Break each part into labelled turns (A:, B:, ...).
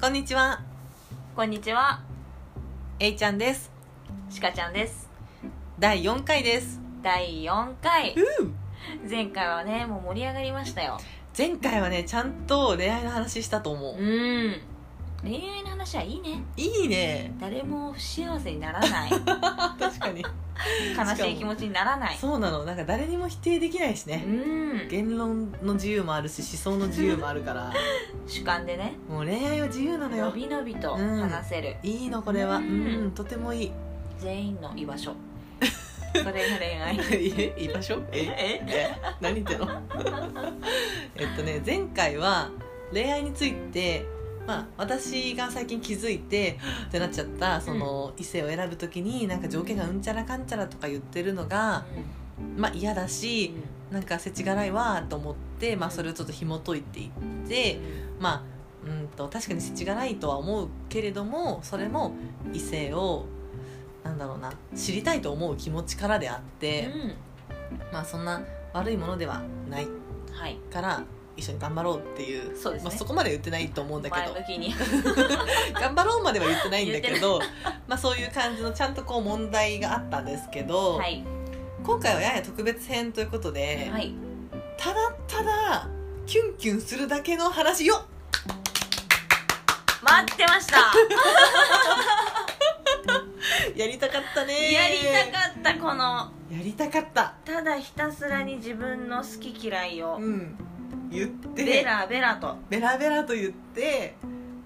A: こんにちは、
B: こんにちは、
A: えいちゃんです。
B: しかちゃんです。
A: 第4回です。
B: 第4回。
A: うう
B: 前回はね、もう盛り上がりましたよ。
A: 前回はね、ちゃんと恋愛の話したと思
B: う
A: う。
B: ん。恋愛の話はいいね。
A: いいね。
B: 誰も不幸せになら ない。
A: 確かに。
B: 悲しい気持ちにならない。
A: そうなの。なんか誰にも否定できないし
B: う
A: ね。
B: ん。
A: 言論の自由もあるし、思想の自由もある から、
B: 主観でね、
A: もう恋愛は自由なの
B: の
A: よ。
B: びのびと話せる。
A: いいの、これは。う
B: うん
A: ん、とてもいい。
B: 全員の居 場所。それが恋愛。
A: え、居場所え、
B: え
A: え、何言ってん のえっとね、前回は恋愛について、まあ、私が最近気づいてってなっちゃったその異性を選ぶ時になんか条件がうんちゃらかんちゃらとか言ってるのが、まあ、嫌だしなんかせちがらいわと思って、まあ、それをちょっと紐解いていって、まあ、うんと確かにせちがないとは思うけれどもそれも異性をなんだろうな知りたいと思う気持ちからであって、
B: う
A: まあ、そんな悪いものではない
B: ん。はい。
A: から一緒に頑張ろうっていう
B: そうですね
A: まあ、そこまで言ってないと思うんだけ
B: 前
A: ど
B: 向きに。
A: 頑張ろうまでは言ってないんだけ
B: 言
A: どまあそういう感じのちゃんとこう問題があったんですけど、
B: はい。
A: 今回はやや特別編ということで、
B: はい。
A: ただただキュンキュンするだけの話よ
B: 待ってました
A: やりたかったね
B: やりたかった、この。
A: やりたかった
B: ただひたすらに自分の好き嫌いを
A: うん言って
B: ベラベラと
A: ベラベラと言って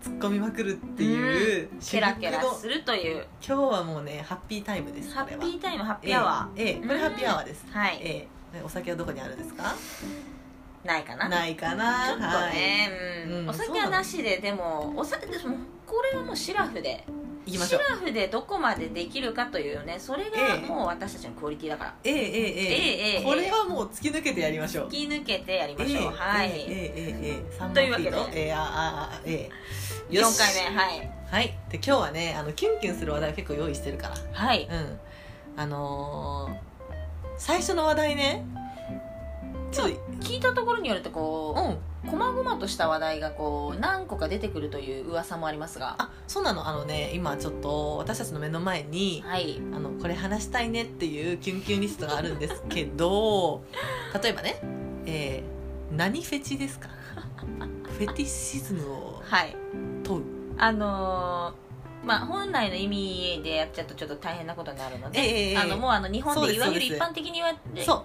A: 突っ込みまくるっていう、
B: ケラケラ
A: 至
B: するという
A: 極の今日はもうねハッピータイムです
B: ハ
A: これ
B: ッ
A: は
B: ピータイムハッピーアワ
A: ええええこれハッピーアワーです
B: ーはい
A: ええ、お酒はどこにあるんですか
B: ないかな
A: ないかな
B: ちょっとね、うん
A: うん
B: お
A: そう
B: 酒
A: なの
B: はなしででもお酒でもこれはもうシラフで
A: い、行きまし
B: シ
A: ょう
B: ラフでどこまでできるかというねそれが
A: ええ
B: もう私たちのクオリティだから
A: ええええ
B: ええええ
A: これはもう突き抜けてやりましょう
B: 突き抜けてやりましょ
A: え
B: う、
A: え
B: はい、
A: ええええええ三
B: というわけで
A: 本フィートええあああええ
B: 4
A: よし
B: 回目はい
A: はいで今日はねあのキュンキュンする話題を結構用意してるか
B: はい
A: らうんあのー最初の話題ねちょっと
B: 聞いたところによるとこ
A: うん
B: う細々とした話題がこう何個か出てくるという噂もありますが
A: あそうなのあのね今ちょっと私たちの目の前に
B: はい
A: あのこれ話したいねっていうキュンキュンリストがあるんですけ ど例えばね、えー何フェチですか フェティシズムを
B: はい
A: 問う
B: あのーまあ本来の意味でやっちゃうとちょっと大変なことになるので、
A: ええええ
B: あのもうあの日
A: そう
B: 本
A: で
B: ですいわゆる
A: そ
B: 一
A: うです
B: 般的に言われて
A: そう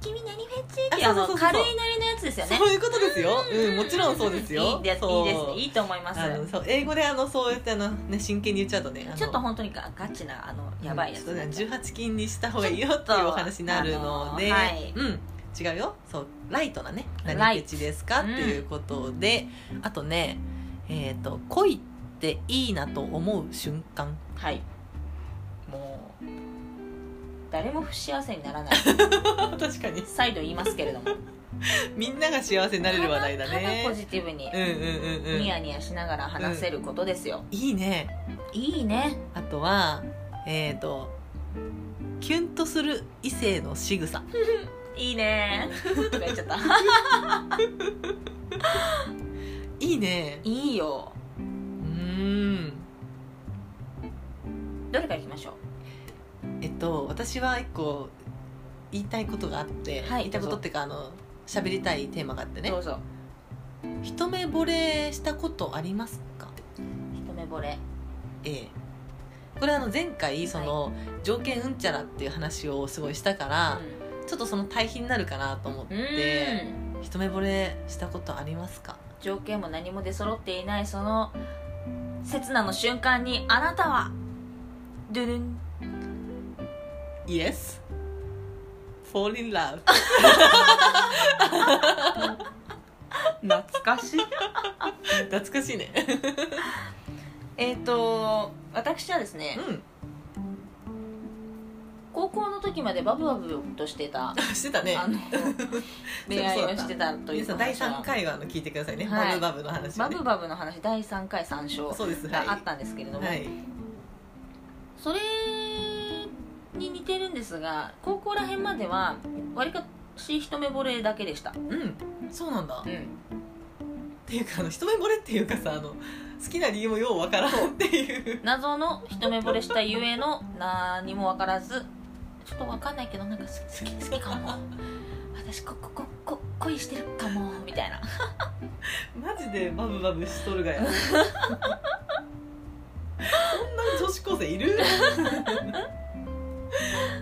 B: 君何フェチ?」ってい
A: あ
B: う
A: そ
B: あ
A: うそうそう
B: の
A: そう
B: 軽いなりのやつですよね
A: そういうことですよ、うん、もちろんそうです
B: い
A: よ
B: いでいいです
A: そう
B: ねいいと思います
A: あのそう英語であのそうやってあの、ね、真剣に言っちゃうとねあの
B: ちょっと本当にガガチなあのやばいやつ、
A: うんちょっとね18禁にした方がいいよっていうお話になるので、
B: あのはい
A: うん違うよそうライトなね
B: ライ
A: 何フ
B: ト
A: ェチですかっていうことで、あとねえっ、と恋っていいなと思う瞬 間
B: はいもう誰も不幸せにな らない
A: 確かに
B: 再度言いますけれども
A: みんなが幸せになれる話題だ
B: ただただポ
A: ね
B: ジティブに
A: うんうんうんうん
B: ニヤニヤしながら話せることですよ、
A: いいね
B: いいね
A: あとはえっ、とキュンとする異性の仕草
B: いいねとか言っちゃった
A: いいね
B: いいよ
A: うーん
B: どれからいきましょ
A: えっと私は一個言いたいことがあって、
B: はい
A: 言いたいことっていうかあの喋りたいテーマがあって
B: う、
A: ね
B: どうぞ
A: 一目惚れしたことありますか
B: 一目惚れ
A: ええこれあの前回その、条件うんちゃらっていう話をすごいしたから、ちょっとその対比になるかなと思っ
B: う
A: て、
B: ん
A: 一目惚れしたことありますか
B: 条件も何も出揃っていないその刹那の瞬間にあなたはドゥルン
A: Yes Fall in love
B: 懐かしい
A: 懐かしいね
B: えっと私はですね
A: う
B: 高校の時までバブバブとしてた
A: んしてたね
B: あの恋愛をしてたとい
A: 皆さ
B: う
A: ん第
B: 話は
A: 3回はあの聞いてくださいね、
B: はい
A: バブバブの話を
B: バ
A: ね
B: ブバブの話第3回参照
A: そうですはい
B: があったんですけれども、
A: はい
B: それに似てるんですが高校ら辺まではわりかし一目惚れだけでした、
A: うんそうなんだ、
B: う
A: っ
B: ん、
A: ていうかあの一目惚れっていうかさあの好きな理由もようわからんっていう
B: 謎の一目惚れしたゆえの何も分からずちょっと分かんないけどなんか好き好き好きかも私ここここ恋してるかもみたいな
A: マジでバブバブしとるがやこんな女子高生いる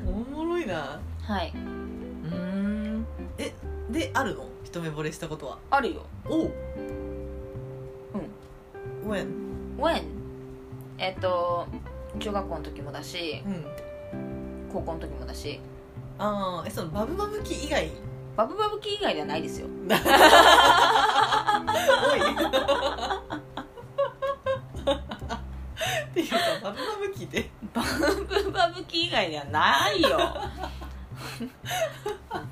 A: おもろいな
B: はいう
A: ーんえであるの一目惚れしたことは
B: あるよ
A: おう
B: う
A: When?
B: When? えっと中学校の時もだし
A: うん
B: 高校の時もだし
A: ああえそのバブバブ期以外
B: バブバブ期以外ではないですよ
A: おいっていうかバブバブ期で
B: バブバブ期以外ではないよ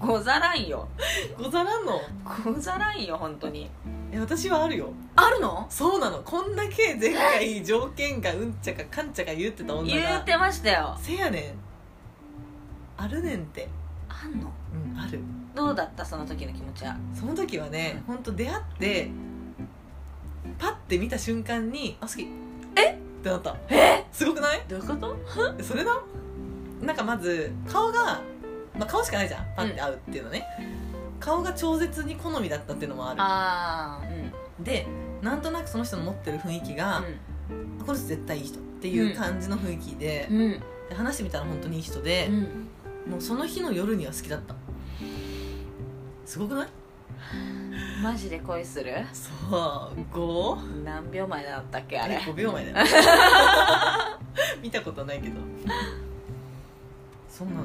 B: ござらんよ
A: ござらんの
B: ござらんよ本当に
A: え私はあるよ
B: あるの
A: そうなのこんだけ前回条件がうんちゃかかんちゃか言ってた女
B: 言
A: が
B: うてましたよ
A: せやねんあるねんって
B: あんの
A: うんある
B: どうだったその時の気持ちは
A: その時はね本当出会ってパッて見た瞬間に「あ好きえっ!」ってなった
B: え
A: すごくない
B: どういうこと
A: それななんかまず顔が、まあ、顔しかないじゃんパッて会うっていうのね、顔が超絶に好みだったっていうのもあ
B: ああうん
A: るでなんとなくその人の持ってる雰囲気が、この人絶対いい人っていう感じの雰囲気で,、
B: うんうん
A: で話してみたら本当にいい人で、もうその日の夜には好きだったすごくない
B: マジで恋する
A: そう5
B: 何秒前だったっけ
A: あ
B: あ
A: れ
B: れ
A: 5秒前 だよ見たことないけどそうなの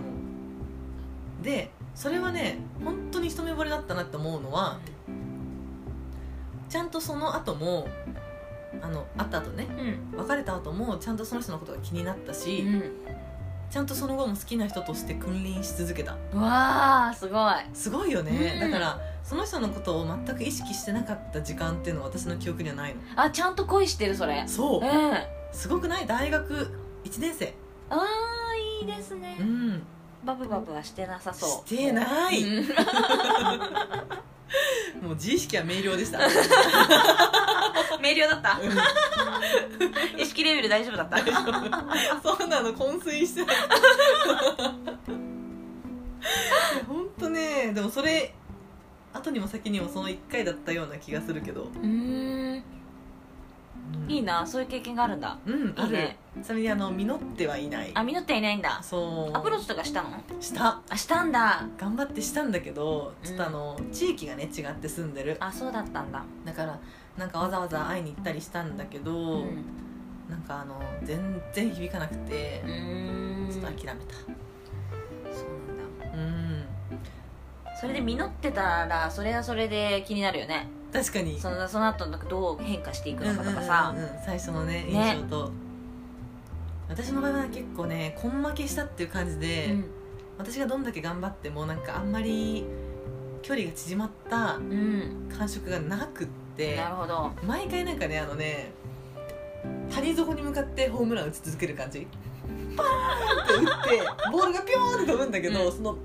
A: でそれはね本当に一目惚れだったなって思うのはちゃんとその後もあの会った後ね
B: うん
A: 別れた後もちゃんとその人のことが気になったし、
B: うん
A: ちゃんとその後も好きな人として君臨し続けた
B: うわあすごい
A: すごいよね、
B: う
A: だ
B: ん
A: からその人のことを全く意識してなかった時間っていうのは私の記憶にはないの
B: あちゃんと恋してるそれ
A: そ
B: うん
A: う
B: あ
A: すごくない大学1年生
B: あいいですね
A: うん
B: バブバブはしてなさそう
A: してない
B: うん
A: もう自意識は明瞭 でした
B: 明瞭だった意識レベル大丈夫だった
A: そんなの昏睡してない本当ねでもそれ後にも先にもその1回だったような気がするけど、
B: うんいいなそういう経験があるんだ
A: うんあ
B: いい
A: る
B: ね
A: ちなみにあの実ってはいない
B: あ実っていないんだ
A: そう
B: アプローチとかしたの
A: した
B: あしたんだ
A: 頑張ってしたんだけど
B: うん
A: ちょっとあの、地域がね違って住んでる
B: あそうだったんだ
A: だからなんかわざわざ会いに行ったりしたんだけ
B: う
A: ど、
B: ん
A: なんかあの全然響かなくて
B: う、ーん
A: ち
B: そ
A: ょ
B: う
A: っと
B: なん
A: 諦めた
B: だ
A: うん
B: それで実ってたらそれはそれで気になるよね
A: 確かに
B: そのその後なんかどう変化してい
A: う
B: く
A: ん
B: のかとかさ
A: うんうんうん最初のね
B: ね
A: 印象と、私の場合は結構ね根負けしたっていう感じで、私がどんだけ頑張ってもなんかあんまり距離が縮まった
B: うんうん
A: 感触がなくって
B: なるほど
A: 毎回なんかねあのね谷底に向かってホームラン打ち続ける感じパーンって打ってボールがピョーンって飛ぶんだけど、
B: うん
A: そのう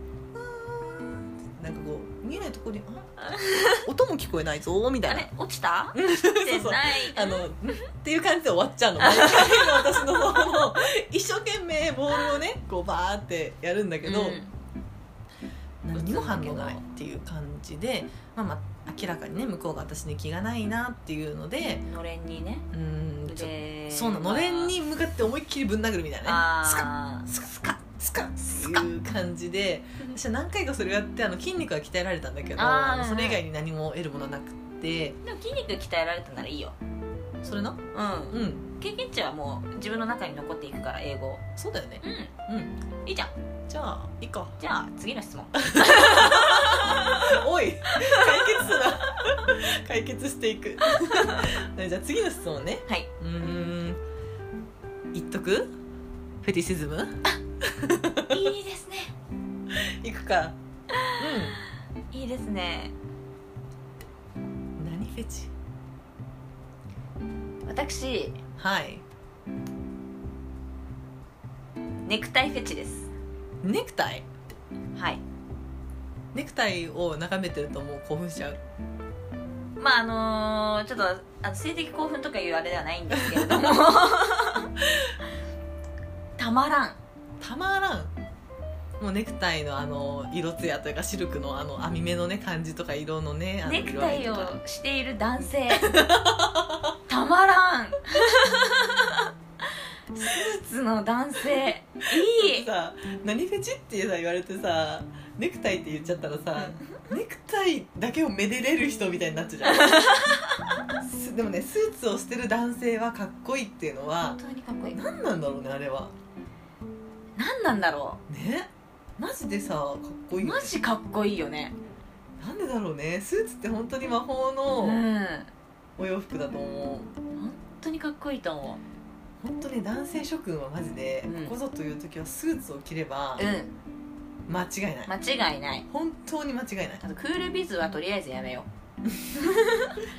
A: ーんなんかこう見えないところにあ音も聞こえないぞみた
B: あ
A: いな
B: れ落ちた
A: うん
B: 落ち
A: そ
B: て
A: うそう
B: ない
A: あの、んっていう感じで終わっちゃうの。毎回の私のその、一生懸命ボールをね、こうバーってやるんだけど、
B: うん
A: 何も反応がないっていう感じで、まあまあ、明らかにね、向こうが私に気がないなっていうので、
B: のれんにね
A: うーん、ちょ
B: で
A: そうなの、のれんに向かって思いっきりぶん殴るみたいなね。スカ
B: あ
A: ッ、スカッ、スカッ、スカッ、スカッっていう感じで、私は何回かそれをやって、あの、筋肉は鍛えられたんだけど、
B: あー
A: それ以外に何も得るものなくて、
B: ーでも筋肉鍛えられたならいいよ
A: それな、
B: う
A: うんん、
B: 経験値はもう自分の中に残っていくから英語
A: そうだよね。
B: うん
A: うん。
B: いいじゃん
A: じゃあ、いいか。
B: じゃあ次の 質問
A: おい解決すな 解決していくじゃあ次の質問ね
B: はいう
A: ーん言っとくフェティシズム
B: いいですね
A: いくか
B: いいですね
A: うん何フェチ
B: 私
A: はい
B: ネクタイフェチです
A: ネクタイ
B: はい
A: ネクタイを眺めてるともう興奮しちゃう
B: まああのーちょっとあの性的興奮とかいうあれではないんですけれ どもたまらん
A: たまらんもうネクタイのあの色艶というかシルクのあの網目のね感じとか色のねあの
B: ネクタイを
A: 色合いとか
B: している男 性たまらんスーツの男性いい
A: さ何フェチってさ言われてさネクタイって言っちゃったらさネクタイだけをめでれる人みたいになっちゃうじゃんすでもねスーツをしてる男性はかっこいいっていうのは
B: 本当にかっこいい
A: 何なんだろうねあれは
B: 何なんだろ
A: ねマジでさかっこいういよ
B: マジかっこいいよね
A: なんでだろうねスーツって本当に魔法
B: うん
A: の
B: 本
A: お洋服だと思う
B: 当にかっこいいと思
A: 本当ね男性諸君はマジで
B: うん
A: ここぞという時はスーツを着れば
B: ううん
A: 間違いない
B: 間違いない
A: 本当に間違いない
B: あとクールビズはとりあえずやめよ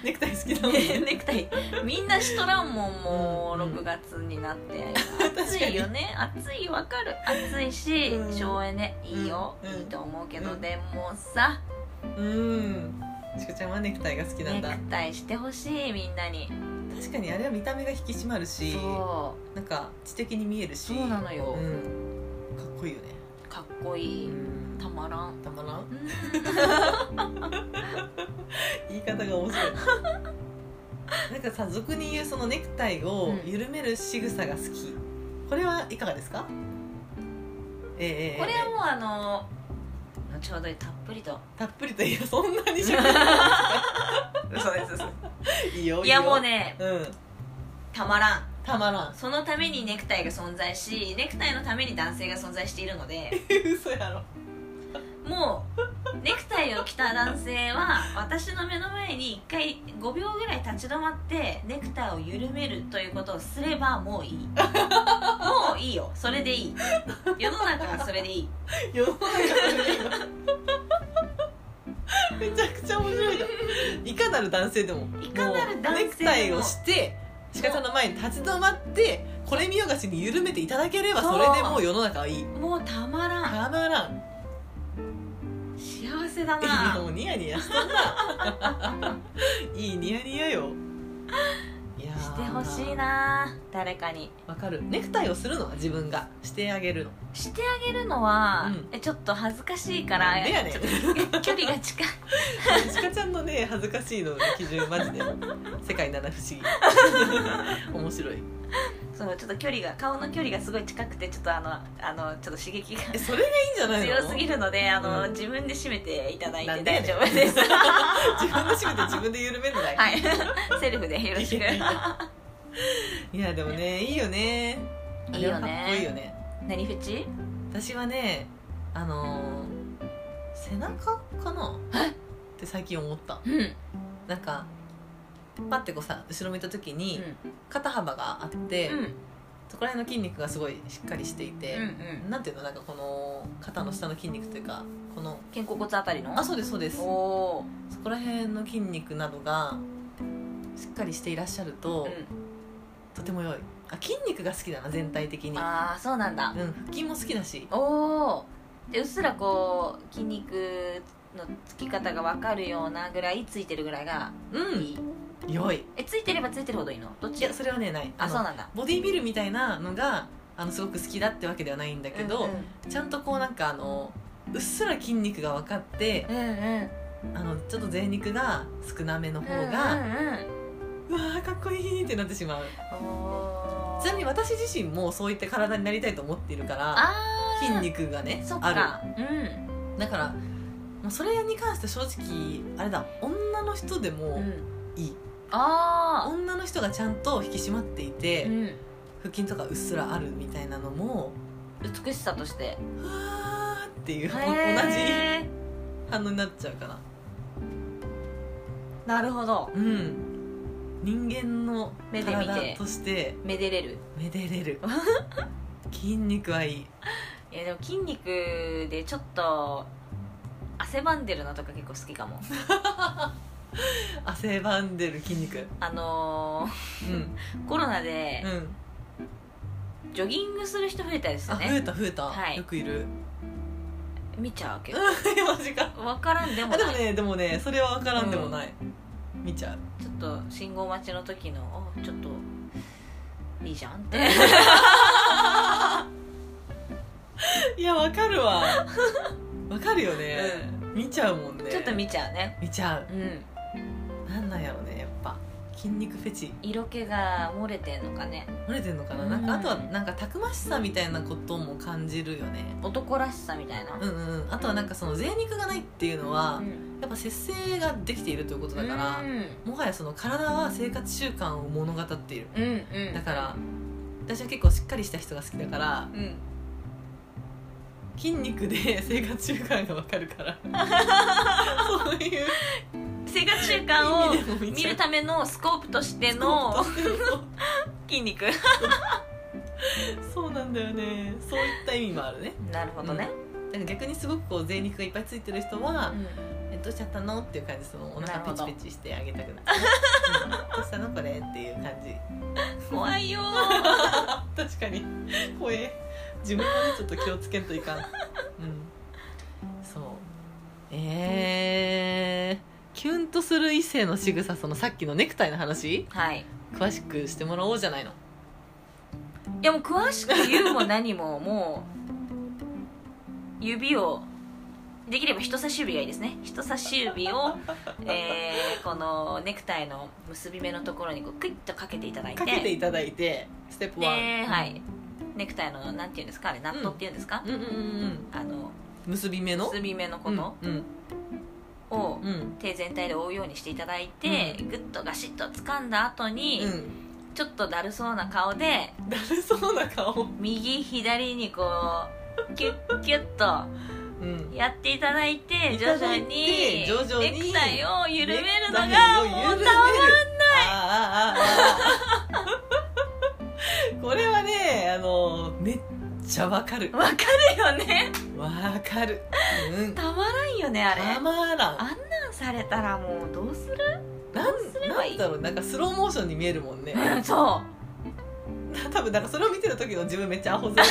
A: ネクタイ好きだ
B: う
A: もんね
B: ネクタイみんなしとらんもんもう
A: うん
B: 6月になって
A: 確
B: 暑
A: かに
B: いよ ね暑いわかる暑いし
A: うん
B: 省エネいいよ
A: うん
B: いいと思うけど
A: うん
B: でもさ
A: うんチコちゃんはネクタイが好きなん
B: ネ
A: だ
B: クタイしてほしいみんなに
A: 確かにあれは見た目が引き締まるし
B: そ
A: なんか知的に見えるし
B: そうなのよ
A: うんかっこいいよね
B: うかっこいいたまらん
A: たまらん
B: うん
A: 言い方が面白い なんかさ俗に言うそのネクタイを緩める仕草が好き、これはいかがですかええ
B: これはもうあの後ほどたっぷり と
A: たっぷりといやそんなにしゃ
B: 嘘です嘘
A: いいよ
B: いや
A: いいよ
B: もうね
A: うん
B: たまらん
A: たまらん
B: そのためにネクタイが存在しネクタイのために男性が存在しているので
A: 嘘やろ
B: もうネクタイを着た男性は私の目の前に1回5秒ぐらい立ち止まってネクタイを緩めるということをすればも ういいもういいよそれでいい世の中はそれでいい
A: 世の中のめちゃくちゃ面白いじゃんいかなる男性でも
B: いかなる男性でも
A: うネクタイをして仕方の前に立ち止まってこれ見よがしに緩めていただければ
B: そう
A: それでもう世の中はいい
B: もうたまらん
A: たまらん
B: 幸せだ
A: いや
B: な
A: もうニヤニヤしてんないいニヤニヤよいやー
B: してほしいな誰かに
A: わかるネクタイをするのは自分がしてあげるの
B: してあげるのは、
A: うん
B: えちょっと恥ずかしいから
A: なんでやねんち
B: 距離が近い
A: かちゃんのね恥ずかしいのの基準マジで世界七不思 議面白い
B: そうちょっと距離が顔の距離がすごい近くてちょっとあのあのちょっと刺激が
A: えそれがいいんじゃないの
B: 強すぎるのであの、
A: うん
B: 自分で締めていただい
A: な
B: て
A: んでや
B: 大
A: ねん
B: 丈夫ですは
A: 自分で締めて自分で緩めるない
B: いセルフでよろしく
A: いやでもねいいよね
B: いいよ
A: あれ
B: ね
A: はかっこいいよね
B: 何フェチ
A: 私はねあのー背中かなって最近思った
B: うん、うん
A: なんかパッてこうさ後ろ見た時に肩幅があって、
B: うん
A: そこら辺の筋肉がすごいしっかりしていて
B: う、ん
A: なんていうのなんかこの肩の下の筋肉というかこの
B: 肩甲骨あたりの
A: あそうですそうですそ
B: お
A: こら辺の筋肉などがしっかりしていらっしゃる
B: お、
A: と、
B: う
A: とても良いあ筋肉が好きだな全体的に
B: ん、、ああそうなんだ
A: うん、腹筋も好きだし
B: おおでうっすらこう筋肉のつき方が分かるようなぐらいついてるぐらいが
A: う
B: い
A: ん
B: い、
A: 良い
B: えついてればついてるほどいいのどっ
A: い
B: ち
A: やそれはねない
B: あ
A: の
B: そうなんだ
A: ボディビルみたいなのがあのすごく好きだってわけではないんだけど、
B: うん
A: ちゃんとこうなんかあのうっすら筋肉が分かって
B: うん、うんうん
A: あのちょっと贅肉が少なめの方
B: うん
A: が、
B: うんうん
A: うわーかっこいいってなってしまう
B: おー
A: ちなみに私自身もそういった体になりたいと思っているから
B: あー
A: 筋肉がね
B: そっ
A: あ
B: かうん
A: るだからもうそれに関して正直あれだ女の人で
B: う
A: も
B: ん
A: いい、
B: あ
A: 女の人がちゃんと引き締まっていて、
B: ーうん
A: 腹筋とかうっすらあるみたいなのも
B: 美しさとして
A: うわーっていう同じ
B: へー
A: 反応になっちゃうから
B: なるほど
A: うん人間の
B: 目で見て
A: 体として
B: めでれる
A: めでれる筋肉はいい
B: いやでも筋肉でちょっと汗ばんでるのとか結構好きかも
A: 汗ばんでる筋肉
B: あの
A: うん
B: ー、コロナで
A: うん
B: ジョギングする人増えたです
A: あ
B: よ
A: 増え
B: ね
A: た増えた、
B: はい
A: よくいる
B: 見ちゃうけど
A: マジか
B: 分からんでもな
A: あで
B: い
A: もねでもねそれは分からんでもない、見ちゃう
B: ちょっと信号待ちの時のあちょっといいじゃんって
A: いやわかるわ わかるよね、見ちゃうもんね
B: ちょっと見ちゃうね
A: 見ちゃう
B: うん
A: なんなんやろねやっぱ筋肉フェチ
B: 色気が漏れてんのかね
A: 漏れてんのかな,、なんかあとはなんかたくましさみたいなことも感じるよね
B: 男らしさみたいな、
A: うんうんうんあとはなんかその贅肉がないっていうのは、
B: うん
A: やっぱ節制ができているということだから、
B: うん
A: もはやその体は生活習慣を物語っている
B: うんうん
A: だから私は結構しっかりした人が好きだから
B: うん
A: 筋肉で生活習慣がわかるから そういう
B: 生活習 慣を
A: 意味でも見
B: 見
A: ちゃう
B: るためのスコープとしての筋肉
A: そうなんだよねそういった意味もあるね
B: なるほどね、
A: だから逆にすごくこう贅肉がいっぱいついてる人は「えどうしちゃったの?」っていう感じでそのお
B: な
A: 腹
B: るほ
A: ペ
B: ど
A: チペチしてあげ たくなる、うんどうしたのこれっていう感じ
B: 怖いよ
A: 確かに怖え自分もねちょっと気をつけんといかんうんそうえー、キュンとする異性の仕草そのさっきのネクタイの話
B: はい
A: 詳しくしてもらおうじゃないの
B: いやもう詳しく言うも何ももう指をできれば人差し指がいいですね人差し指を、 えーこのネクタイの結び目のところにこうクイッとかけていただいて
A: かけていただいてステップ
B: で、
A: 1
B: はい、ネクタイのなんていうんですかあれナットっていうんですか、
A: うんうんうん
B: あの
A: うん結び目の
B: 結び目のこと
A: うん
B: を
A: うんうん
B: 手全体で覆うようにしていただいて、グッとガシッと掴んだ後に、
A: うん
B: ちょっとだるそうな顔で
A: だるそうな顔
B: 右左にこうキュッキュッと。
A: うん
B: やっていただいて
A: い
B: 徐
A: ただ
B: 々
A: い
B: に
A: て徐々に
B: ネクタイを緩めるのがもう
A: 緩める
B: たま
A: あーあーあー これはねあのめっちゃわかる
B: わかるよね
A: わかるうん
B: たまらんよねあれ
A: たまらん
B: あなんされたらもうどうする
A: なん
B: すればいい
A: なんだろうなんかスローモーションに見えるもんね
B: そ
A: 多分なんかそれを見てる時の自分めっちゃア ホ面だ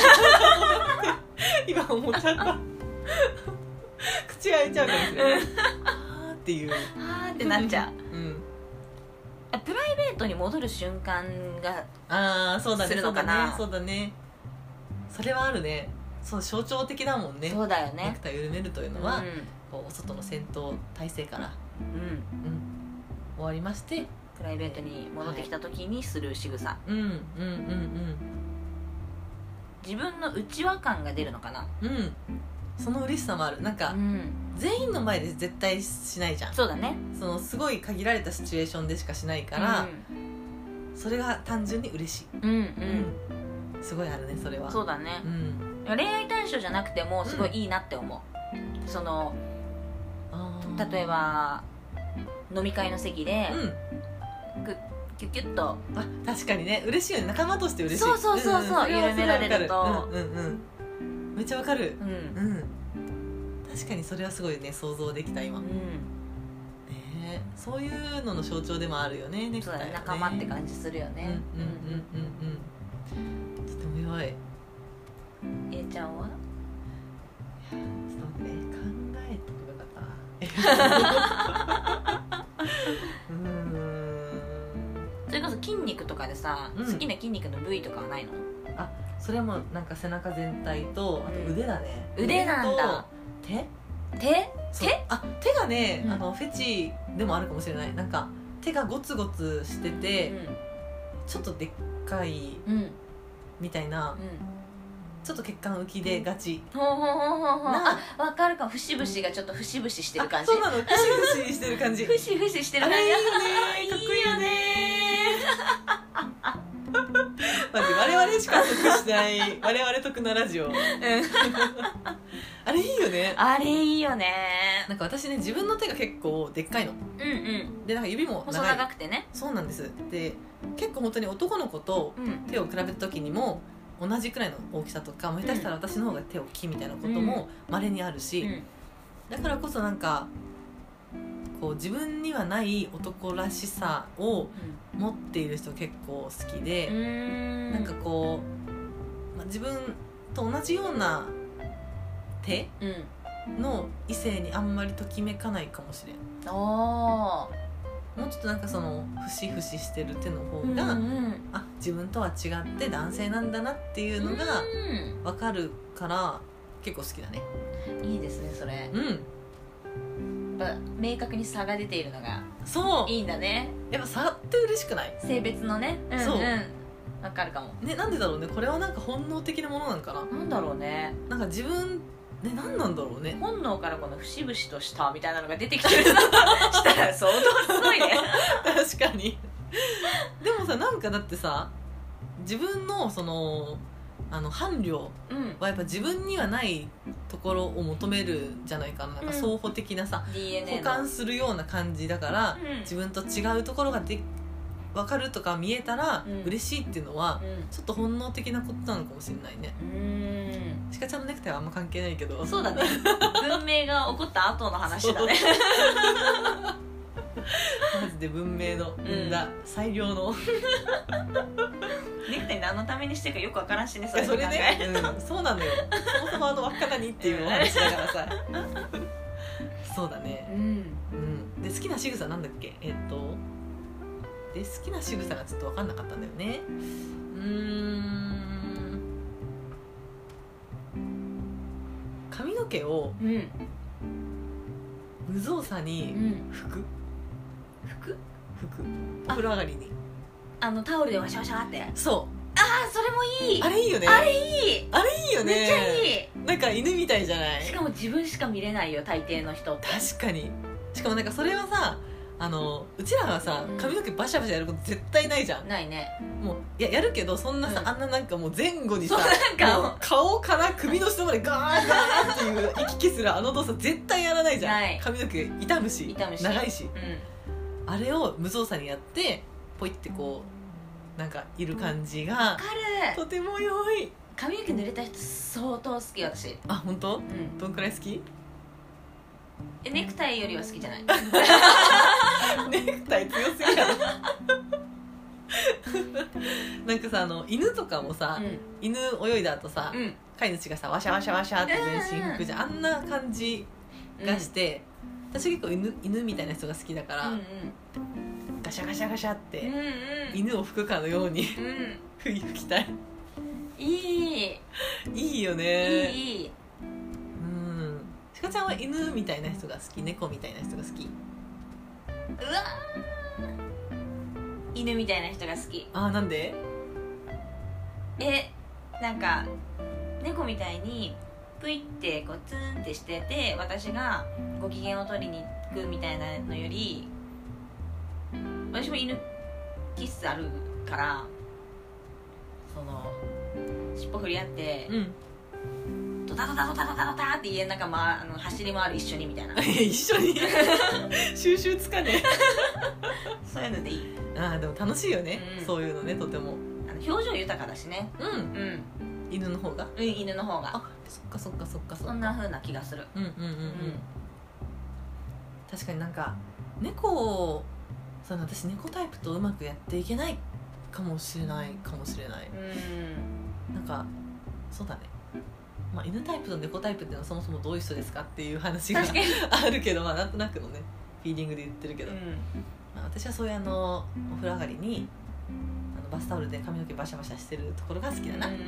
A: なって今思っちゃった口開いちゃうかもしれないあーっていう
B: うはーってなっちゃう
A: うん
B: あプライベートに戻る瞬間が
A: ああそうだね
B: するのかな
A: そうだねそうだねそれはあるねそう象徴的だもんね
B: そうだよ
A: ネ
B: ね
A: クタイを緩めるという
B: う
A: の
B: ん
A: は、こうお外の戦闘体制から、
B: うん
A: 終わりまして
B: プライベートに戻ってきた時にする仕草
A: うんうん
B: 自分の内輪感が出るのかな
A: うんうんうんその嬉しさもあるなんか
B: うん
A: 全員の前で絶対しないじゃん
B: そうだね
A: そのすごい限られたシチュエーションでしかしないから、それが単純に嬉しい、
B: うんうん
A: うんすごいあるねそれ
B: うん
A: は
B: そううだね
A: ん
B: 恋愛対象じゃなくてもすごいいいなって思う、その
A: あー
B: 例えば飲み会の席で
A: うん
B: キュッキュッと
A: あ確かにね嬉しいよね仲間として嬉しい
B: そうそうそうそうん
A: れは
B: 緩められると
A: そはわかるうんうんうんめっちゃわかる
B: うん、
A: うん、確かにそれはすごいね想像できた今、
B: う
A: ね
B: ん
A: えそういうのの象徴でもあるよねネク
B: そう
A: タイは
B: だね
A: ね
B: 仲間って感じするよ
A: じ
B: ね
A: うんうんうんうんうんとても良いちょ
B: うん A ちゃんは
A: っと待ってね考えてくれなかったな うーん
B: それこそ筋肉とかでさ、
A: うん
B: 好きな筋肉の部位とかはないの
A: それもなんか背中全体とあと腕だね、
B: うん腕なんだ
A: 腕と手
B: 手
A: そう
B: 手
A: あ手がね、
B: うん
A: あのフェチでもあるかもしれないなんか手がゴツゴツしてて、ちょっとでっかい
B: うんうん
A: みたいな、
B: うん
A: ちょっと血管浮きでがち、
B: ほうほうほうほうほう
A: な
B: あわかるかも節々がちょっと節々してる感じ
A: あそうなのクシクシしてる 感じ
B: ふしふししてる
A: あ
B: 感じ
A: れいいよねかっ
B: あー
A: こいいよね
B: いいよね
A: マジ我々しか得しない我々得なラジオあれいいよね
B: あれいいよね
A: なんか私ね自分の手が結構でっかいの
B: うんうん
A: でなんか指も
B: 細
A: 長い
B: 長くてね
A: そうなんですで結構本当に男の子と
B: うん
A: 手を比べた時にも同じくらいの大きさとかもう下手したら私の方が手大きいみたいなこともまれにあるし、
B: うん
A: だからこそなんかこう自分にはない男らしさを持っている人結構好き
B: う
A: で、
B: ん
A: なんかこう、まあ、自分と同じような手
B: うん
A: の異性にあんまりときめかないかもしれん
B: おー
A: もうちょっとなんかそのふしふししてる手の方
B: うん
A: が、
B: うん
A: あ自分とは違って男性なんだなっていうのが
B: う
A: 分かるから結構好きだね
B: んいいですねそれや
A: うん
B: っぱ明確に差が出ているのが
A: そう
B: いいんだね
A: やっぱ触って嬉しくない
B: 性別のねうん
A: そうん
B: わかるかも
A: ねなんでだろうねこれはなんか本能的なものなんかな
B: なんだろうね
A: なんか自分ね何なんだろうね
B: 本能からこの節々としたみたいなのが出てきてるなしたら相当すごいね
A: 確かにでもさなんかだってさ自分のそのあの伴侶
B: うん
A: はやっぱ自分にはないところを求めるじゃないかななんか
B: うん
A: 双方的なさ、
B: DNA
A: 補
B: の
A: 完するような感じだから、
B: うん
A: 自分と違うところがで分かるとか見えたら
B: うん
A: 嬉しいっていうのは、
B: う
A: ちょっと本能的なことなのかもしれないね
B: ん
A: しかちゃんのネクタイはあんま関係ないけど
B: うんそうだね文明が起こった後の話だね
A: マジで文明の生んだ最良の、
B: ネクタイ何のためにしてるかよくわからんしねそれ
A: そ
B: 考
A: れ
B: え
A: ね、うん、そうなのよそもそもあの輪っか何っていうお話だからさそうだね、
B: うん
A: うん、で好きな仕草なんだっけえっとで好きな仕草がちょっと分かんなかったんだよねうーん髪の毛を
B: うん
A: 無造作に
B: うん
A: 拭く
B: 服
A: 拭くお風呂上がりに
B: あのタオルでワシャワシャってあ
A: そ
B: あそれもいいう
A: あれいいよね
B: あれいい
A: あれいいよね
B: めっちゃいい
A: なんか犬みたいじゃない
B: しかも自分しか見れないよ大抵の人って
A: 確かにしかもなんかそれはさあのうちらはさ髪の毛バシャバシャやること絶対ないじゃん
B: ないね
A: もういややるけどそんなさ、
B: うん
A: あんななんかもう前後にさ
B: そうなんか
A: もう顔から首の下までガーンガーンっていう行き来するあの動作絶対やらないじゃん、
B: ない
A: 髪の毛傷むし
B: 傷むし
A: 長いし
B: う
A: あれを無造作にやってポイってこうなんかいる感じが
B: んわ、かる
A: とても良い
B: 髪の毛濡れた人相当好き私
A: あ本当
B: うん
A: どんくらい好き
B: えネクタイよりは好きじゃない
A: ネクタイ強すぎやろなんかさあの犬とかもさ、
B: う
A: 犬泳いだ後さ、
B: んうん
A: 飼い主がさワシャワシャワシャって全身拭くじゃんあんな感じがして、私結構犬犬みたいな人が好きだか
B: う
A: ら、
B: ん
A: ガシャガシャガシャっ
B: うん
A: て、
B: うん
A: 犬を拭くかのように
B: うん
A: 拭い拭きたい
B: いい
A: いいよ
B: い
A: ね
B: いいい
A: うんしかちゃんは犬みたいな人が好き猫みたいな人が好き
B: うわー犬みたいな人が好き
A: あーなんで
B: えなんか猫みたいにプイってこうツンってしてて私がご機嫌を取りに行くみたいなのより私も犬キスあるからその尻尾振り合って
A: うん
B: ドタドタドタドタドタって家の中、ま、あの走り回る一緒にみたいな
A: 一緒に 収集つかね
B: そういうのでいい
A: えあーでも楽しいよね、
B: うん
A: そういうのねとても
B: あの表情豊かだしね
A: うん
B: うん、
A: 犬の方が
B: うん、犬の方が
A: あそっかそっかそっかそっ
B: そ
A: か
B: んな風な気がする
A: うんうんうんう
B: うん
A: ん確かになんか猫をその私猫タイプとうまくやっていけないかもしれないかもしれない
B: うん
A: なんかそうだね、まあ、犬タイプと猫タイプっていうのはそもそもどういう人ですかっていう話 が
B: 確かに
A: あるけど、まあ、なんとなくのねフィーリングで言ってるけど、まあ、私はそういうあのお風呂上がりにあのバスタオルで髪の毛バシャバシャしてるところが好きだな
B: うんうん
A: うん、
B: う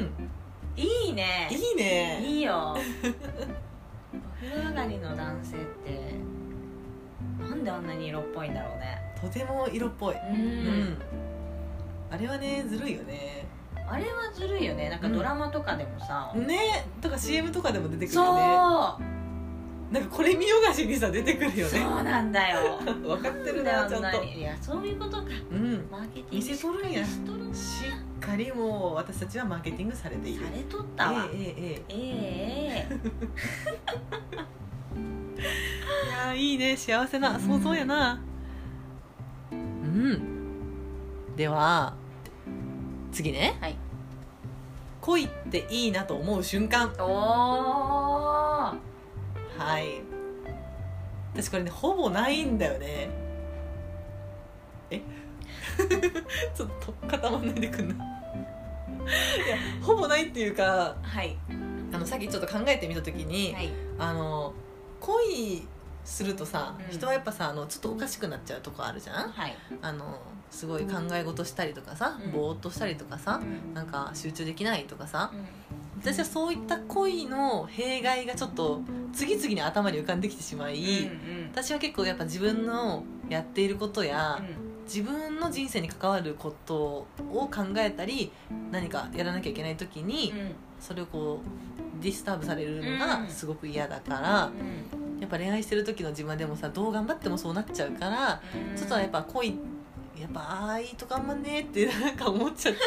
B: んいいね
A: いいね
B: いいよお風呂上がりの男性ってなんであんなに色っぽいんだろうね
A: とても色っぽい、
B: う
A: うん
B: ん、
A: あれはねずるいよね
B: あれはずるいよねなんかドラマとかでもさ、
A: ねとか CM とかでも出てくる
B: そう
A: よねなんかこれ見よがしにさ出てくるよ
B: そ
A: ね
B: うなんだ よ
A: 分かってる
B: な
A: なんちゃ
B: であ
A: ん
B: んな
A: と
B: にいやそういうことか
A: うん
B: マーケティング
A: 見せとるんやし
B: しとるさ
A: っかりもう私たちはマーケティングされている
B: れとったわ、
A: えええええ
B: えええ
A: えいやーいいね幸せな想像やなうんでは次ね、
B: はい
A: 恋っていいなと思う瞬間
B: えおー
A: はい私これねほぼないんだよねえ ちょっと固まんないでくんないいやほぼないっていうか
B: はい
A: あのさっきちょっと考えてみた時に、
B: はい
A: あの恋するとさ、
B: うん
A: 人はやっぱさあのちょっとおかしくなっちゃうとこあるじゃん
B: はい、
A: あのすごい考え事したりとかさ、
B: うん
A: ぼーっとしたりとかさなんか集中できないとかさ
B: うん
A: 私はそういった恋の弊害がちょっと次々に頭に浮かんできてしまい、
B: うん
A: 私は結構やっぱ自分のやっていることや、自分の人生に関わることを考えたり何かやらなきゃいけない時に
B: うんうん
A: それをこうディスターブされるの
B: う
A: が
B: ん
A: すごく嫌だから
B: う
A: やっぱ恋愛してる時の自分でもさどう頑張ってもそうなっちゃうから
B: ん
A: ちょっとやっぱ恋やっぱああいいと頑張んねってなんか思っちゃって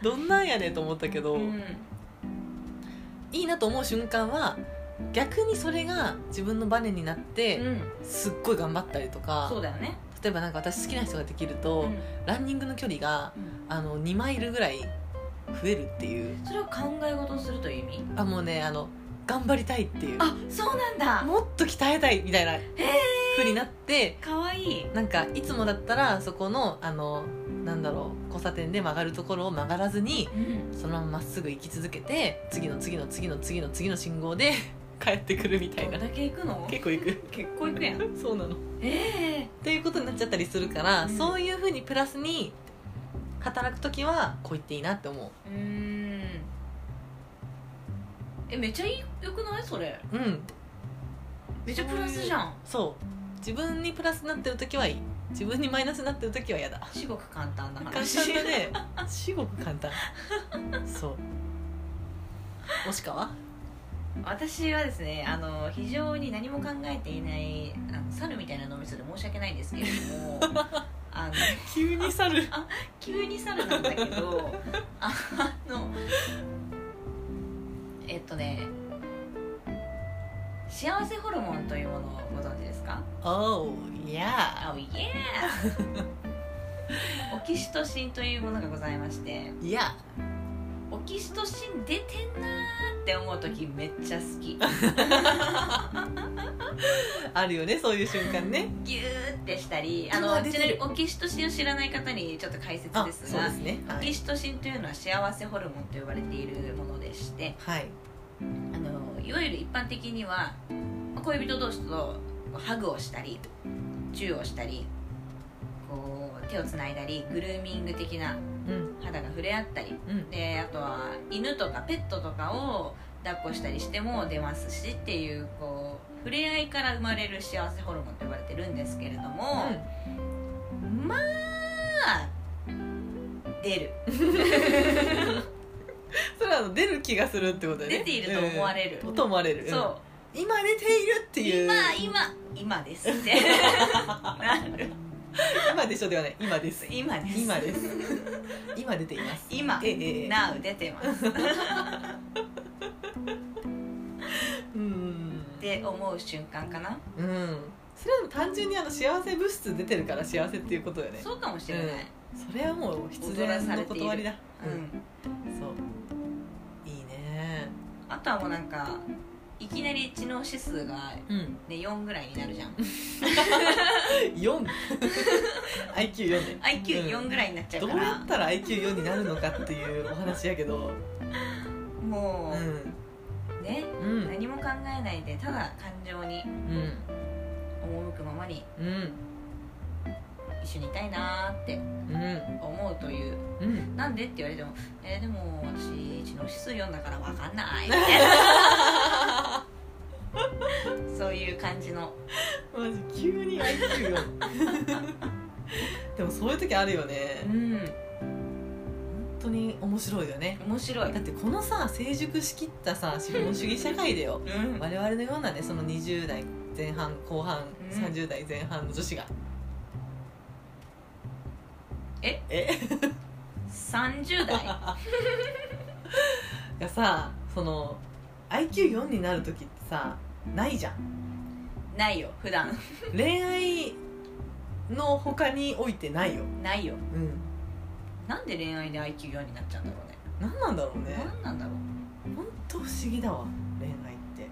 A: どんなんやねんと思ったけど、
B: うん
A: いいなと思う瞬間は逆にそれが自分のバネになって、
B: うん
A: すっごい頑張ったりとか
B: そうだよね
A: 例えばなんか私好きな人ができると、
B: うん
A: ランニングの距離があの2マイルぐらい増えるっていう
B: それを考え事をするという意味
A: あもうねあの頑張りたいっていう
B: あそうなんだ
A: もっと鍛えたいみたいなふうになって
B: かわいい
A: なんかいつもだったらそこのあのなんだろう交差点で曲がるところを曲がらずに
B: うん
A: そのまままっすぐ行き続けて次の次の次の次の次の信号で 帰ってくるみた
B: ど
A: い
B: ん
A: な
B: だけ行くの
A: 結構行く
B: 結構行くやん
A: そうなのっ
B: ええ
A: ていうことになっちゃったりするから、
B: うん
A: そういうふうにプラスに働く時はこう言っていいなって思う
B: うーんえめっちゃいいよくないそれ
A: うん
B: めっちゃプラスじゃん
A: そう自分にプラスになってる時はいい自分にマイナスになってる時は嫌だ
B: 至極簡単な
A: 簡単
B: 話
A: だね至極簡単そうもしかは
B: 私はですねあの非常に何も考えていないあの猿みたいな脳みそで申し訳ないんですけれどもあの
A: 急に去る
B: 急に猿なんだけどあのえっとね幸せホルモンというものをご存知ですか
A: Oh yeah
B: あおいえオキシトシンというものがございまして
A: いや
B: オキシトシン出てんなーって思う時めっちゃ好き
A: あるよねそういう瞬間ね
B: ギューってしたりあ
A: あ
B: の
A: 出
B: ち
A: て
B: なみ
A: る
B: にオキシトシンを知らない方にちょっと解説
A: あ
B: で
A: そ
B: す
A: う
B: が
A: ですねは
B: オキ
A: い、
B: シトシンというのは幸せホルモンと呼ばれているものでして
A: はい、
B: あのいわゆる一般的にはまあ恋人同士とハグをしたりチューをしたりこう手をつないだりグルーミング的な
A: うん
B: 肌が触れ合ったり
A: うん
B: であとは犬とかペットとかを抱っこしたりしても出ますしっていうこう触れ合いから生まれる幸せホルモンと呼ばれてるんですけれども、まあ出る
A: それはあの出る気がするってことだよね
B: 出ていると思われる
A: うんと思われるん
B: そう
A: 今出ているっていう
B: 今今今ですって なる
A: 今でしょではない今です
B: 今です
A: 今です今出ています
B: 今
A: ええええ
B: Now 出てます
A: うん
B: って思う瞬間かな
A: うんそれはでも単純にあの幸せ物質出てるから幸せっていうことよね
B: そうかもしれない、
A: それはもう必然の断りだ
B: うん
A: うんそういいね
B: あとはもうなんかいきなり知能指数が、
A: うん
B: ね、4ぐらいになるじゃん
A: 4 IQ4 ね
B: IQ4 ぐらいになっちゃう
A: ど
B: か
A: うや
B: ら
A: っ、たら IQ4 になるのかっていうお話やけどう
B: も
A: ん
B: う、ね
A: うん
B: 何も考えないでただ感情に
A: うん
B: 赴くままに
A: うん
B: 一緒にいたいなーって
A: うん
B: 思うという
A: うん
B: なんでって言われても「えーでも私知能指数4だからわかんない」 そういう感じの
A: マジ急に IQ4 でもそういう時あるよね
B: うん
A: 本当に面白いよね
B: 面白い
A: だってこのさ成熟しきったさ資本主義社会でよ
B: うん
A: 我々のようなねその20代前半後半、
B: うん
A: 30代前半の女子が
B: え
A: え
B: 30代
A: がさその IQ4 になる時ってさないじゃん
B: ないよ普段
A: 恋愛の他においてないよ
B: ないよ
A: うん
B: なんで恋愛で IQ4 になっちゃうんだろうね
A: 何なんだろうね
B: 何なんだろう
A: 本当不思議だわ恋愛って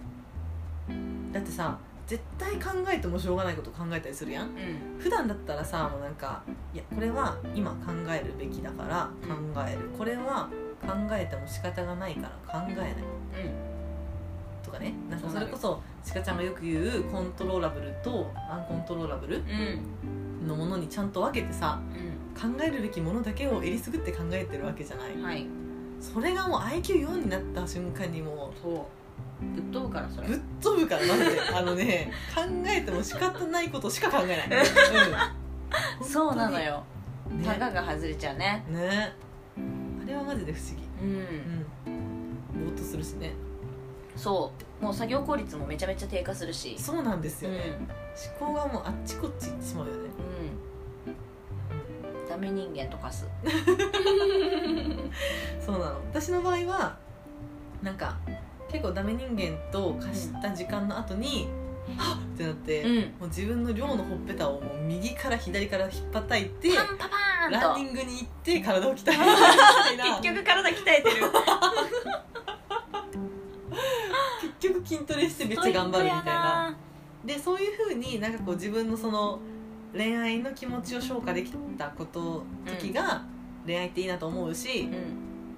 A: だってさ絶対考えてもしょうがないこと考えたりするやん
B: うん
A: 普段だったらさもうなんかいやこれは今考えるべきだから考えるこれは考えても仕方がないから考えない
B: うん
A: とかねなんか
B: そう
A: そ
B: な
A: れ
B: るよ
A: こそちかちゃんがよく言うコントローラブルとアンコントローラブル
B: うん
A: のものにちゃんと分けてさ考えるべきものだけをえりすぐって考えてるわけじゃない
B: うんはい
A: それがもう IQ4 になった瞬間にも
B: そうぶっ飛ぶからそうれ
A: ぶっ飛ぶからマジであのね考えても仕方ないことしか考えない、うん
B: そうなの、よ
A: 本当
B: た
A: に
B: かが外れちゃうね
A: ねねあれはマジで不思議
B: うん
A: うんぼーっとするしね
B: そうもう作業効率もめちゃめちゃ低下するし
A: そうなんです
B: う
A: よ
B: ん
A: ね、思考がもうあっちこっち行ってしまうよね
B: うんダメ人間とかす
A: そうなの私の場合はなんか結構ダメ人間と貸した時間の後に、はっってなって、
B: うん
A: もう自分の寮のほっぺたをもう右から左から引っ叩いて
B: パンパパ
A: ラン
B: ー
A: ニ
B: ンと
A: ングに行って体を鍛えるみたいな
B: 結局体鍛えてる
A: 結局筋トレしてめっちゃ頑張るみたいなでそういうふうになんかこう自分のその恋愛の気持ちを消化できたこと時が、恋愛っていいなと思うし
B: う、ん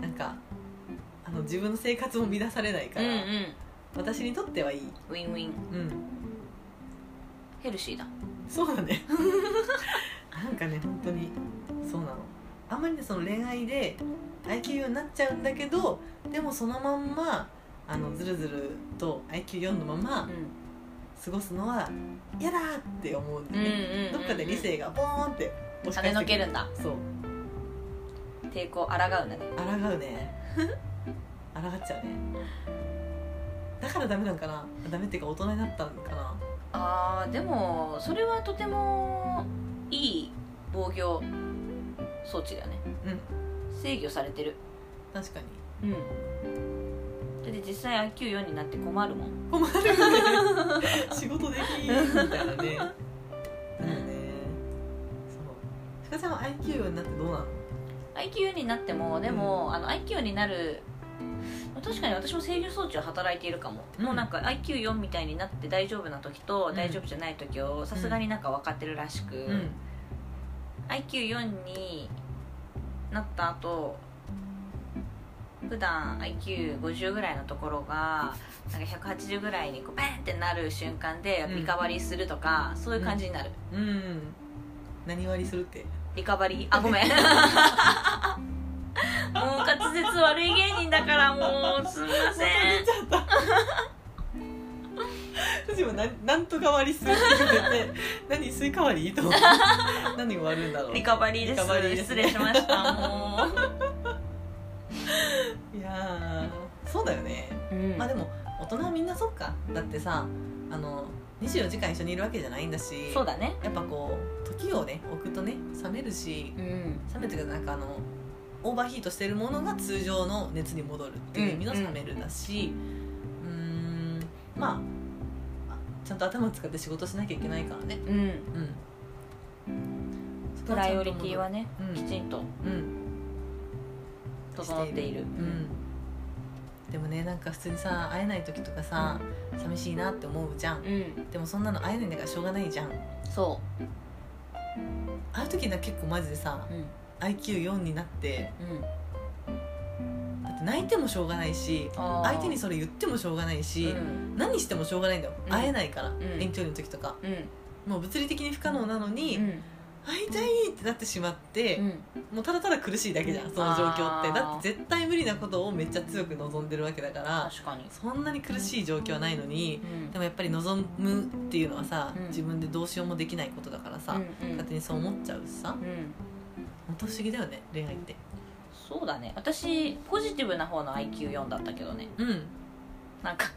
A: なんかあの自分の生活も乱されないか
B: うん
A: ら、
B: うん
A: 私にとってはいい、
B: ウィンウィン
A: うん、
B: ヘルシーだ
A: そうだねなんかね本当にそうなのあんまりねその恋愛で IQ4 になっちゃうんだけどでもそのまんまあのずるずると IQ4 のま
B: う
A: ま
B: ん
A: 過ごすのは嫌だって思うんで
B: うんうん
A: ね、
B: うんうん
A: どっかで理性がボーンって押
B: 跳ねのけるん
A: だ
B: だ
A: そう
B: 抵抗抗うんだね
A: 抗うね抗っちゃうねだからダメなんかなダメっていうか大人になったんかな
B: あーでもそれはとてもいい防御装置だよね制御されてる
A: 確かに
B: うんだって実際 IQ4 になって困るもん
A: 困るよね 仕事できんみたいなねだよねそうちかちゃんは IQ になってどうなの
B: IQ4 になってもでも、あの IQ になる確かに私も制御装置は働いているかも、
A: うん
B: もうなんか IQ4 みたいになって大丈夫な時と
A: うん
B: 大丈夫じゃない時をさすがになんか分かってるらしく、IQ4 になった後普段 IQ50 ぐらいのところがなんか180ぐらいにこうバーンってなる瞬間で
A: うん
B: リカバリーするとか、そういう感じになる、
A: うん、うん、何割りするって
B: リカバリーあごめん もう滑舌悪い芸人だからもうすみません
A: ちゃった私もなんなんとか割りするって言ってて何スイカ割りと思って何を割るんだろう
B: リカバリーです
A: リカバリーです
B: 失礼しましたも
A: いやーそうだよね
B: う、
A: まあでも大人はみんなそっかだってさあの24時間一緒にいるわけじゃないんだし
B: そうだね
A: やっぱこう時をね置くとね冷めるし
B: うん
A: 冷めていうかなんかあのオーバーヒートしてるものが通常の熱に戻るっていう意味の
B: うん
A: 冷めるだしうーんまああちゃんと頭を使って仕事しなきゃいけないからね
B: うん
A: うん
B: プライオリティはね
A: うん
B: きちんと
A: うん
B: 整っている
A: うんでもねなんか普通にさ会えない時とかさ寂しいなって思うじゃん
B: うん
A: でもそんなの会えないんだからしょうがないじゃん
B: そ
A: ああいう時な結構マジでさ
B: ううん
A: IQ4 になって
B: うん
A: だって泣いてもしょうがないし相手にそれ言ってもしょうがないし、
B: うん
A: 何してもしょうがないんだよ、
B: うん
A: 会えないから、
B: ん
A: 遠距離の時とか
B: うん
A: もう物理的に不可能なのに、
B: うん
A: 会いたいってなってしまって、もうただただ苦しいだけじゃんその状況って
B: あー
A: だって絶対無理なことをめっちゃ強く望んでるわけだから
B: 確かに
A: そんなに苦しい状況はないのに
B: うん
A: でもやっぱり望むっていうのはさ、
B: うん
A: 自分でどうしようもできないことだからさ、
B: うんうん
A: 勝手にそう思っちゃうしさ
B: うん
A: 本当不思議だよね恋愛って
B: そうだね私ポジティブな方の IQ4 だったけどね
A: うん
B: なんか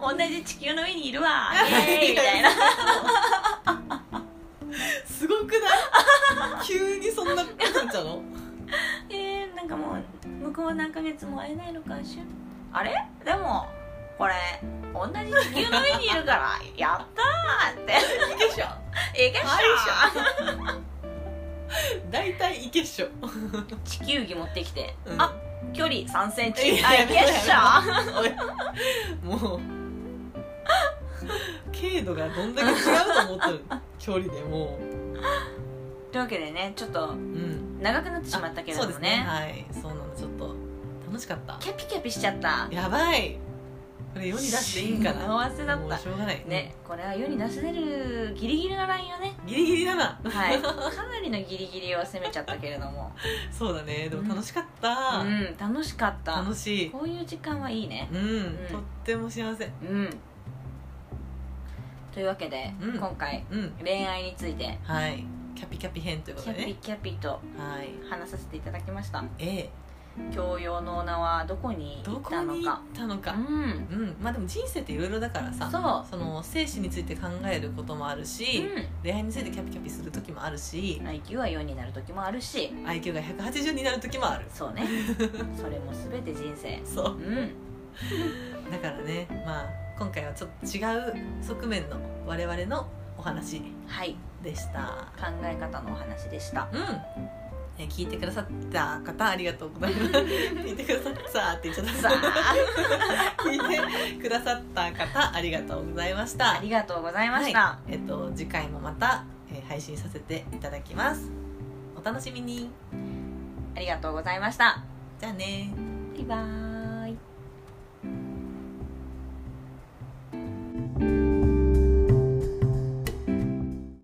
B: 同じ地球の上にいるわイエーイみた いな
A: すごくない 急にそんなことになっちゃうの
B: えー、なんかもう向こう何ヶ月も会えないのかしらあれでもこれ同じ地球の上にいるから やったーって
A: いいでしょ
B: ええかしら
A: 大体いけっしょ
B: 地球儀持ってきて、
A: うん
B: あ距離3センチ
A: いや
B: あいけっしょ
A: おいもう軽度がどんだけ違うと思ってる距離でも
B: というわけでねちょっと
A: う、うん、
B: 長くなってしまったけれど
A: あそうで
B: も
A: す
B: ね
A: はいそうなのちょっと楽楽しかった
B: キャピキャピしちゃった
A: やばいこれ世に出していいんかな
B: 幸せだ
A: も
B: っ
A: うしょうがない
B: たねこれは世に出せれるギリギリのラインをね
A: ギリギリだな
B: は いかなりのギリギリを攻めちゃったけれども
A: そうだねでも楽しかった、
B: うん楽しかった
A: 楽しい
B: こういう時間はいいね
A: うん、
B: ん
A: とっても幸せ
B: うんというわけで、
A: うん
B: 今回
A: うん
B: 恋愛について
A: はいキャピキャピ編というこ
B: キ
A: と
B: ャ
A: で
B: ピ
A: ね
B: キャピと
A: はい
B: 話させていただきました
A: え
B: 教養の女はどこに
A: え
B: 行
A: ど
B: っ
A: こ
B: たの
A: に行っ
B: か
A: たのか
B: うん
A: うんまあでも人生っていろいろだからさ
B: そう
A: その生死について考えることもあるし、
B: う
A: 恋愛についてキャピキャピする時もあるし
B: ん、IQ は4になる時もあるし
A: IQ が180になる時もある
B: そう ねそれも全て人生
A: そう
B: うん
A: だからねまあ今回はちょっと違う側面の我々のお話
B: はい
A: でした
B: 考え方のお話でした
A: うんえ聞いてくださった方ありがとうござい ます聞いてくださったって言っちゃった
B: さ あ
A: 聞いてくださった方ありがとうございました
B: ありがとうございました、
A: はい、えっと次回もまた、えー配信させていただきますお楽しみに
B: ありがとうございました
A: じゃあね
B: バイバーイ